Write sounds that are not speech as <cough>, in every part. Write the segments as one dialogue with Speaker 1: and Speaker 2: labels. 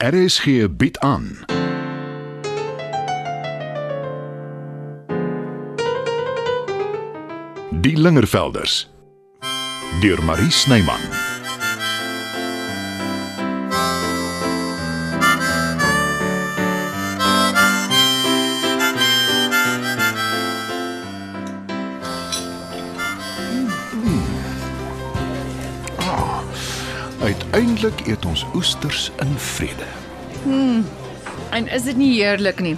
Speaker 1: RSG bied aan. Die Lingervelders deur Marie Snyman. Uiteindelik eet ons oesters in vrede.
Speaker 2: En is dit nie heerlik nie?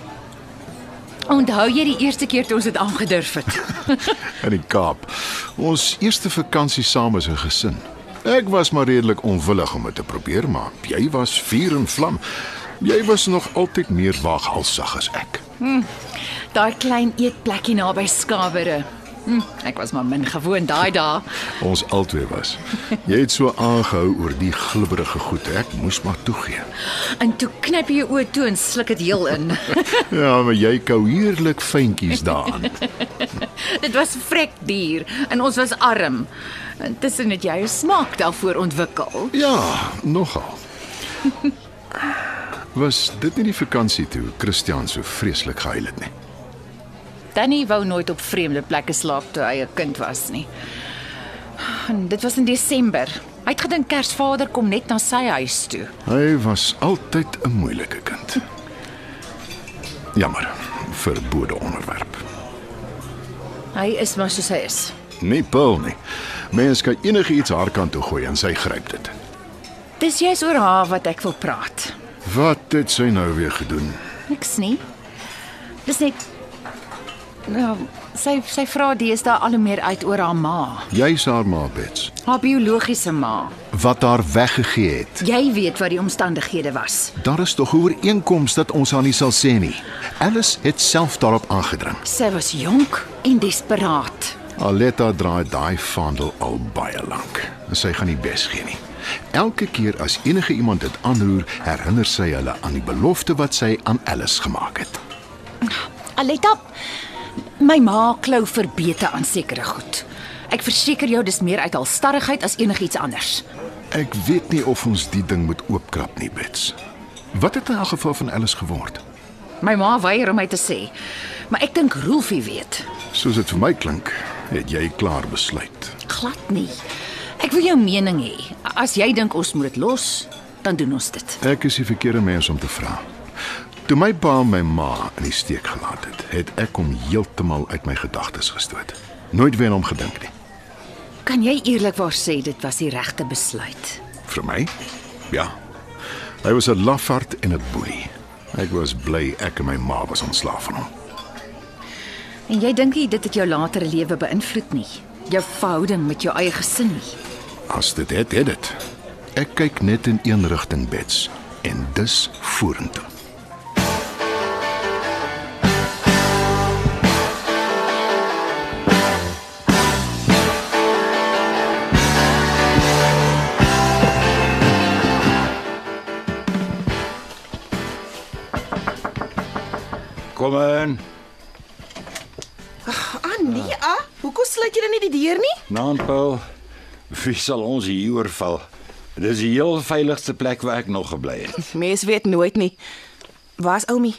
Speaker 2: Onthou jy die eerste keer toe ons dit aangedurf het?
Speaker 1: in die Kaap. Ons eerste vakansie saam as 'n gesin. Ek was maar redelik onwillig om dit te probeer, maar jy was vuur en vlam. Jy was nog altyd meer waaghalsig as ek.
Speaker 2: Daai klein eetplekkie naby Skabere. Hm, ek was maar min gewoond daai dae.
Speaker 1: Ons albei was. Jy het so aangehou oor die glibberige goed. Ek moes maar toegee.
Speaker 2: En toe knip jy jou oë toe en sluk dit heel in. <laughs>
Speaker 1: Ja, maar jy kou heerlik fyntjies daaraan.
Speaker 2: dit was vrek duur en ons was arm. Intussen het jy jou smaak daarvoor ontwikkel.
Speaker 1: Ja, nogal. Was dit nie die vakansie toe Christian so vreeslik gehuil het nie?
Speaker 2: Danny wou nooit op vreemde plekke slaap toe hy 'n kind was nie. En dit was in Desember. Hy het gedink Kersvader kom net na sy huis toe.
Speaker 1: Hy was altyd 'n moeilike kind. Jammer, verbode onderwerp.
Speaker 2: Hy is maar soos hy is.
Speaker 1: Nie pil nie. Mens kan enigiets haar kant toe gooi en sy gryp dit.
Speaker 2: Dis jy's oor haar wat ek wil praat.
Speaker 1: Wat het sy nou weer gedoen?
Speaker 2: Niks nie. Dis net nou, sy sy vra deesdae al hoe meer uit oor haar ma,
Speaker 1: Jy's haar ma bets.
Speaker 2: haar biologiese ma.
Speaker 1: Wat haar weggegee het.
Speaker 2: Jy weet wat die omstandighede was.
Speaker 1: Daar is tog 'n ooreenkoms dat ons haar nie sal sê nie. Alice het self daarop aangedring.
Speaker 2: Sy was jonk en desperaat.
Speaker 1: Aletta draai daai vaandel al baie lank. En sy gaan nie bes gee nie. Elke keer as enige iemand dit aanroer, herinner sy hulle aan die belofte wat sy aan Alice gemaak het.
Speaker 2: Aletta, my ma klou vir bete aan sekere goed. Ek verseker jou dis meer uit haar starrigheid as enigiets anders.
Speaker 1: Ek weet nie of ons die ding moet oopkrap nie, Bets. Wat het in elk geval van Alice geword?
Speaker 2: My ma weier om my te sê. Maar ek dink Rolfie weet.
Speaker 1: Soos dit vir my klink, het jy klaar besluit.
Speaker 2: Glad nie. Ek wil jou mening hê. As jy dink ons moet dit los, dan doen ons dit.
Speaker 1: Ek is die verkeerde mens om te vra. Toe my pa my ma in die steek gelaat het, het ek hom heeltemal uit my gedagtes gestoot. Nooit weer aan hom gedink nie.
Speaker 2: Kan jy eerlikwaar sê dit was die regte besluit?
Speaker 1: Vir my? Ja. Hy was 'n lafaard en 'n boelie. Ek was bly ek en my ma was ontslaaf van hom.
Speaker 2: En jy dink nie dit het jou latere lewe beïnvloed nie? Jou verhouding met jou eie gesin nie?
Speaker 1: As dit het, het dit. Ek kyk net in een rigting, Bets, en dis vorentoe.
Speaker 3: Kom in.
Speaker 4: Ania, ah, hoekom sluit jy dan nie die deur nie?
Speaker 3: Naanpil. Wie sal ons hier oorval? Dis die heel veiligste plek waar ek nog gebly het.
Speaker 4: Mens weet nooit nie. Waar's Oumi?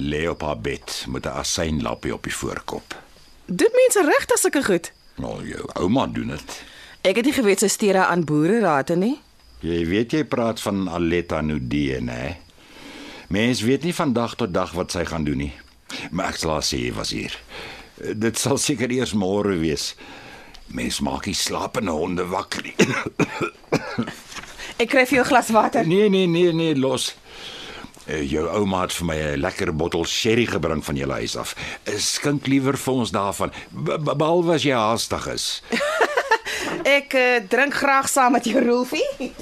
Speaker 3: Lê op haar bed met 'n asynlappie op die voorkop.
Speaker 4: Doen mense regtig sulke goed?
Speaker 3: Nou jou ouma doen dit.
Speaker 4: Ek het nie geweet sy steur haar aan boere rate nie.
Speaker 3: Jy weet jy praat van Aletta Nudee, né? Mens weet nie van dag tot dag wat sy gaan doen nie. Maar ek sal haar sê jy was hier. Dit sal seker eers môre wees. Mens maak nie slapende honde wakker nie.
Speaker 4: Ek kry vir jou 'n glas water.
Speaker 3: Nee, nee, nee, nee, los. Eh, Jou ouma het vir my 'n lekker bottel sherry gebring van julle huis af. Eh, Skink liewer vir ons daarvan, be- be- behalwe as jy haastig is.
Speaker 4: Ek uh, drink graag saam met jou, Rolfie.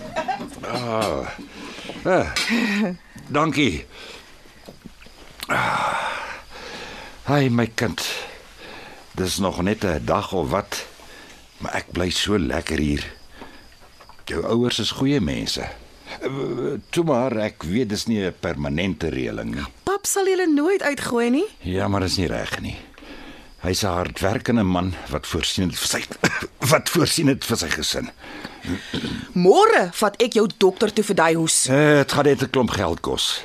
Speaker 3: Eh, Dankie. Ah, Hi my kind. Dis nog net 'n dag of wat, maar ek bly so lekker hier. Jou ouers is goeie mense. Eh, Toe maar, ek weet dis nie 'n permanente reëling nie.
Speaker 4: Pap sal julle nooit uitgooi nie.
Speaker 3: Ja, maar dis nie reg nie. Hy's 'n hardwerkende man wat voorsien het vir sy <coughs> wat voorsien het vir sy gesin.
Speaker 4: Môre vat ek jou dokter toe vir daai hoes.
Speaker 3: Eh, Dit gaan net 'n klomp geld kos.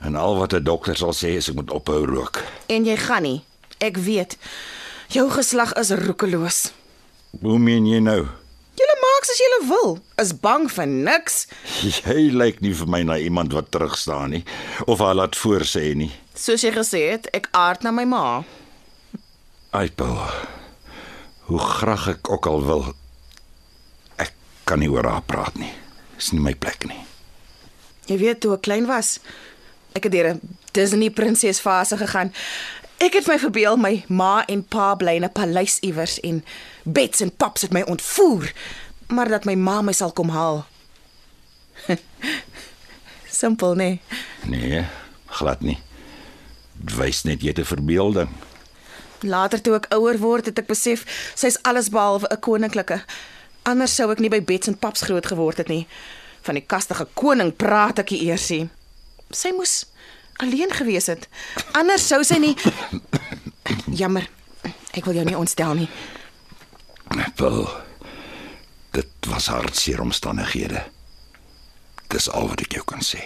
Speaker 3: En al wat 'n dokter sal sê is ek moet ophou rook.
Speaker 4: En jy gaan nie. Ek weet. Jou geslag is roekeloos.
Speaker 3: Hoe meen jy nou? <laughs>
Speaker 4: Julle maak soos julle wil. Is bang vir niks.
Speaker 3: Jy lyk nie vir my na iemand wat terug staan nie of haar laat voorsê nie.
Speaker 4: Soos jy gesê het, ek aard na my ma.
Speaker 3: Aipo. Hoe graag ek ook al wil, ek kan nie oor haar praat nie. Dis nie my plek nie.
Speaker 4: Jy weet toe ek klein was, ek het deur 'n Disney prinses fase gegaan. Ek het my verbeel my ma en pa bly in 'n paleis iewers en Bets en Paps het my ontvoer, maar dat my ma my sal kom haal. <laughs> Simpel, nee.
Speaker 3: Nee, glad nie. Wys net jy te verbeelding.
Speaker 4: Later toe ek ouer word, het ek besef sy's alles behalwe 'n koninklike. Anders sou ek nie by Bets en Paps groot geword het nie. Van die kastige koning praat ek nie eers nie. Sy moes alleen gewees het. Anders sou sy nie <coughs> Jammer. Ek wil jou nie ontstel nie.
Speaker 3: Wel, dit was hartseer omstandighede. Dis al wat ek jou kan sê.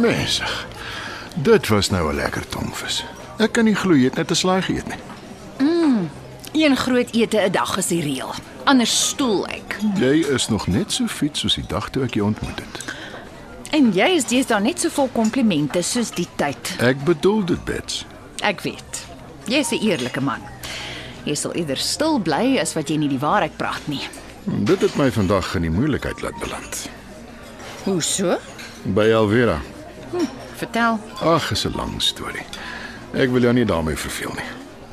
Speaker 1: Mense. Dit was nou 'n lekker tongvis. Ek kan nie glo jy het net 'n slaai geëet nie.
Speaker 2: Een groot ete 'n dag is die reël. Anders stoel ek.
Speaker 1: Jy is nog net so fiet soos die dag toe ek jou ontmoet het.
Speaker 2: En jy is deesdae net so vol komplimente soos die tyd.
Speaker 1: Ek bedoel dit, Bets.
Speaker 2: Ek weet. Jy's 'n eerlike man. Jy sal eerder stil bly as wat jy nie die waarheid praat nie.
Speaker 1: Dit het my vandag in die moeilikheid laat beland.
Speaker 2: Hoe so?
Speaker 1: By Alvera.
Speaker 2: Vertel.
Speaker 1: Ag, is 'n lang storie. Ek wil jou nie daarmee verveel nie.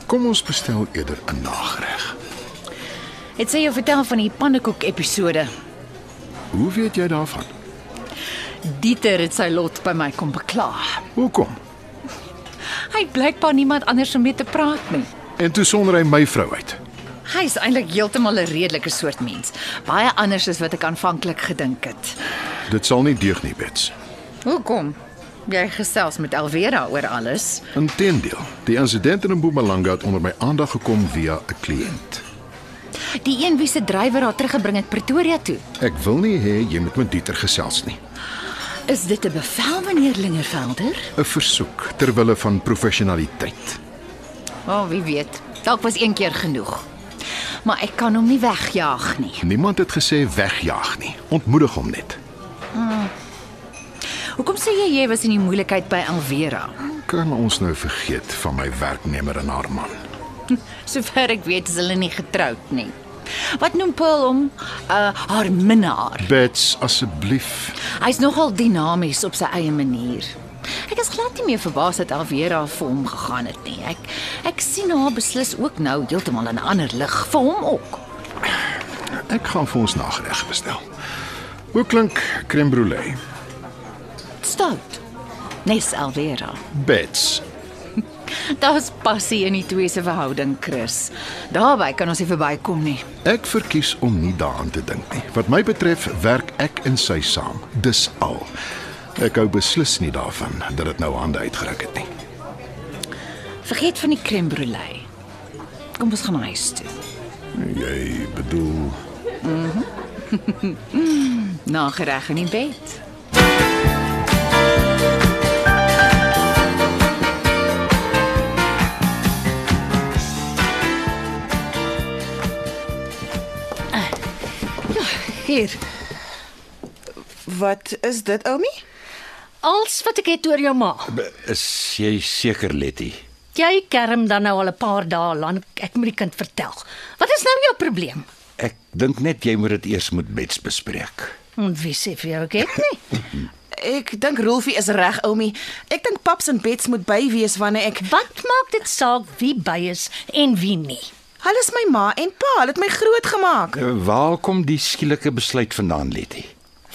Speaker 1: Kom ons bestel eerder 'n nagereg.
Speaker 2: Het sy jou vertel van die pannekoek episode?
Speaker 1: Hoe weet jy daarvan?
Speaker 2: Dieter het sy lot by my kom bekla.
Speaker 1: Hoekom?
Speaker 2: Hy het blykbaar niemand anders om mee te praat nie.
Speaker 1: En toe sonder hy my vrou uit.
Speaker 2: Hy is eintlik heeltemal 'n redelike soort mens, baie anders as wat ek aanvanklik gedink het.
Speaker 1: Dit sal nie deug nie, Bets.
Speaker 2: Hoekom? Jy gesels met Alvera oor alles.
Speaker 1: Inteendeel, die insident in Mpumalanga het onder my aandag gekom via 'n kliënt.
Speaker 2: Die een wie se drywer haar teruggebring het Pretoria toe.
Speaker 1: Ek wil nie hê jy moet met Dieter gesels nie.
Speaker 2: Is dit 'n bevel meneer Lingervelder?
Speaker 1: 'n Versoek ter wille van professionaliteit.
Speaker 2: O, oh, wie weet. Dalk was een keer genoeg. Maar ek kan hom nie wegjaag nie.
Speaker 1: Niemand het gesê wegjaag nie. Ontmoedig hom net.
Speaker 2: Hoekom sê jy jy was in die moeilikheid by Alvera?
Speaker 1: Kan ons nou vergeet van my werknemer en haar man?
Speaker 2: Sover ek weet is hulle nie getroud nie. Wat noem Paul hom? Uh haar minnaar.
Speaker 1: Bets, asseblief.
Speaker 2: Hy's nogal dinamies op sy eie manier. Ek is glad nie meer verbaas dat Alvera vir hom gegaan het nie. Ek ek sien haar beslis ook nou heeltemal in 'n ander lig vir hom ook.
Speaker 1: Ek gaan vir ons nagereg bestel. Hoe klink crème brûlée?
Speaker 2: Stout. Nes Alvera.
Speaker 1: Bets,
Speaker 2: Daar's passie in die twee se verhouding, Chris. Daarby kan ons nie verbykom nie.
Speaker 1: ek verkies om nie daaraan te dink nie. Wat my betref, werk ek en sy saam. Dis al. Ek hou beslis nie daarvan dat dit nou hande uitgeruk het nie.
Speaker 2: Vergeet van die crème brûlée. Kom ons gaan huis toe.
Speaker 1: Jy bedoel
Speaker 2: Nagereg in die bed. Ah, ja, Hier.
Speaker 4: Wat is dit, Oumi?
Speaker 5: Als wat ek het oor jou ma.
Speaker 3: B- Is jy seker, Letty?
Speaker 5: Jy kerm dan nou al 'n paar dae lank. Ek moet die kind vertel. Wat is nou jou probleem?
Speaker 3: Ek dink net jy moet dit eers met Bets bespreek.
Speaker 5: Ons wie sê vir jou ek het nie.
Speaker 4: Ek dink Rolfie is reg, Oumi. Ek dink Paps en Bets moet by wees wanneer ek
Speaker 5: Wat maak dit saak wie by is en wie nie?
Speaker 4: Hulle is my ma en pa, hulle het my grootgemaak.
Speaker 3: Eh, Waar kom die skielike besluit vandaan, Letty?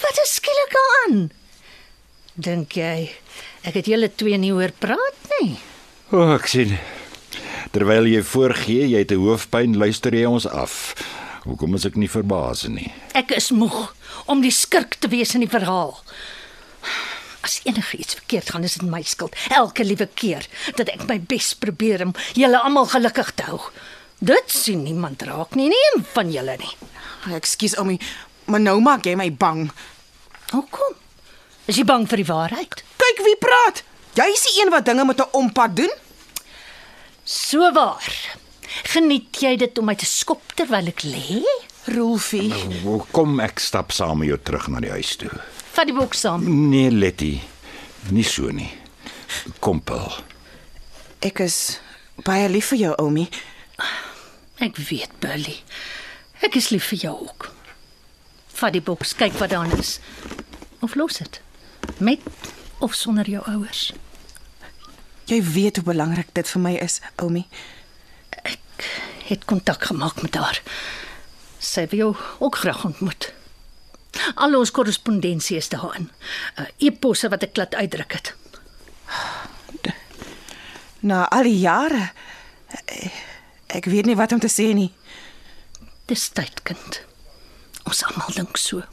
Speaker 5: Wat is skielik al aan? Dink jy ek het julle twee nie hoor praat nie?
Speaker 3: O, oh, ek sien. Terwyl jy voorgee jy het 'n hoofpyn, luister jy ons af. Hoekom is ek nie verbaas nie?
Speaker 5: Ek is moeg om die skurk te wees in die verhaal. As enige iets verkeerd gaan, is dit my skuld. Elke liewe keer dat ek my bes probeer om julle almal gelukkig te hou. Dit sien niemand raak nie, nie een van julle nie.
Speaker 4: Ekskuus oomie, maar nou maak jy my bang.
Speaker 5: Hoekom? Is jy bang vir die waarheid?
Speaker 4: Kyk wie praat. Jy is die een wat dinge met 'n ompad doen.
Speaker 5: So waar. Geniet jy dit om my te skop terwyl ek lê?
Speaker 4: Rolfie,
Speaker 3: Nou. Kom ek stap saam met jou terug na die huis toe.
Speaker 5: Vat die boek saam.
Speaker 3: Nee, Letty. Nie so nie. Kompel.
Speaker 4: ek is baie lief vir jou, oomie.
Speaker 5: Ek weet, Billy. Ek is lief vir jou ook. Vat die boks, kyk wat daarin is. Of los dit. Met of sonder jou ouers.
Speaker 4: Jy weet hoe belangrik dit vir my is, oomie.
Speaker 5: Ek het kontak gemaak met haar. Sy wil jou ook graag ontmoet. Al ons korrespondensie is daarin. Uh, E-posse wat ek laat uitdruk het.
Speaker 4: Na al die jare. eh, Ek weet nie wat om te sê nie.
Speaker 5: Dis tyd, kind. Ons almal dink so.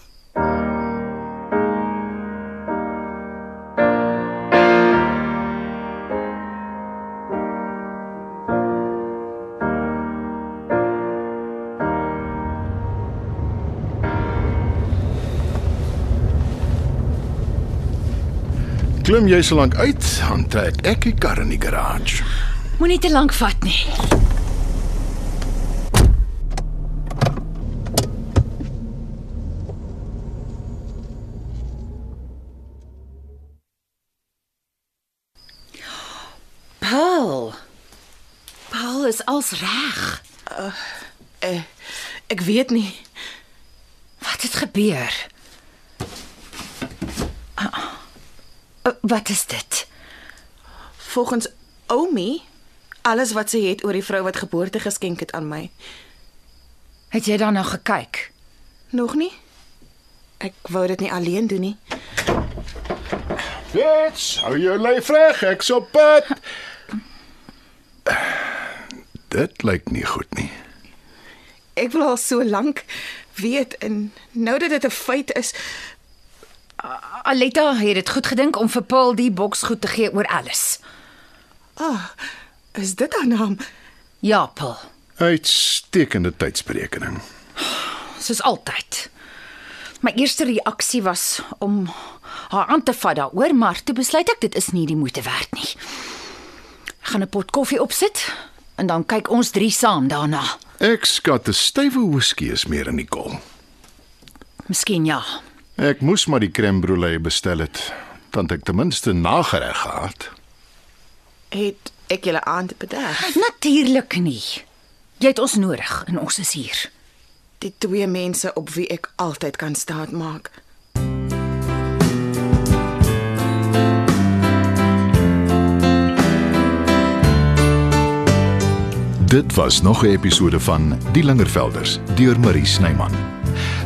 Speaker 1: Klim jy so lank uit, dan trek ek die kar in die garage.
Speaker 2: Moenie te lank vat nie. Paul. Paul is als reg.
Speaker 4: Eh, Ek weet nie.
Speaker 2: Wat het gebeur? Ah, ah. Wat is dit?
Speaker 4: Volgens oomie, alles wat sy het oor die vrou wat geboorte geskenk het aan my.
Speaker 2: Het jy daarna gekyk?
Speaker 4: Nog nie? Ek wou dit nie alleen doen nie.
Speaker 1: Fits, hou jou lyf reg, ek's op pad. Dit lyk nie goed nie.
Speaker 4: Ek wil al so lank weet en nou dat dit 'n feit is,
Speaker 2: Aletta het dit goed gedink om vir Paul die boks goed te gee oor alles.
Speaker 4: ah, is dit haar naam?
Speaker 2: Ja, Paul,
Speaker 1: Uitstekende tydsberekening.
Speaker 2: soos altyd. My eerste reaksie was om haar aan te vat daaroor, maar toe besluit ek dit is nie die moeite werd nie. Ek gaan 'n pot koffie opsit en dan kyk ons drie saam daarna.
Speaker 1: Ek skat 'n stywe whisky is meer in die kol.
Speaker 2: Miskien ja.
Speaker 1: Ek moes maar die crème brûlée bestel het, dan het ek ten minste nagereg gehad.
Speaker 4: Het ek julle aand bederf?
Speaker 2: Natuurlik nie. Jy het ons nodig en ons is hier.
Speaker 4: Die twee mense op wie ek altyd kan staatmaak.
Speaker 1: Dit was nog 'n episode van Die Lingervelders deur Marie Snyman.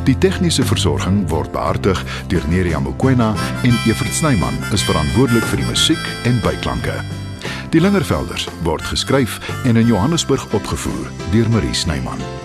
Speaker 1: Die tegniese versorging word behartig deur Neriya Mkwena en Evert Snyman is verantwoordelik vir die musiek en byklanke. Die Lingervelders word geskryf en in Johannesburg opgevoer deur Marie Snyman.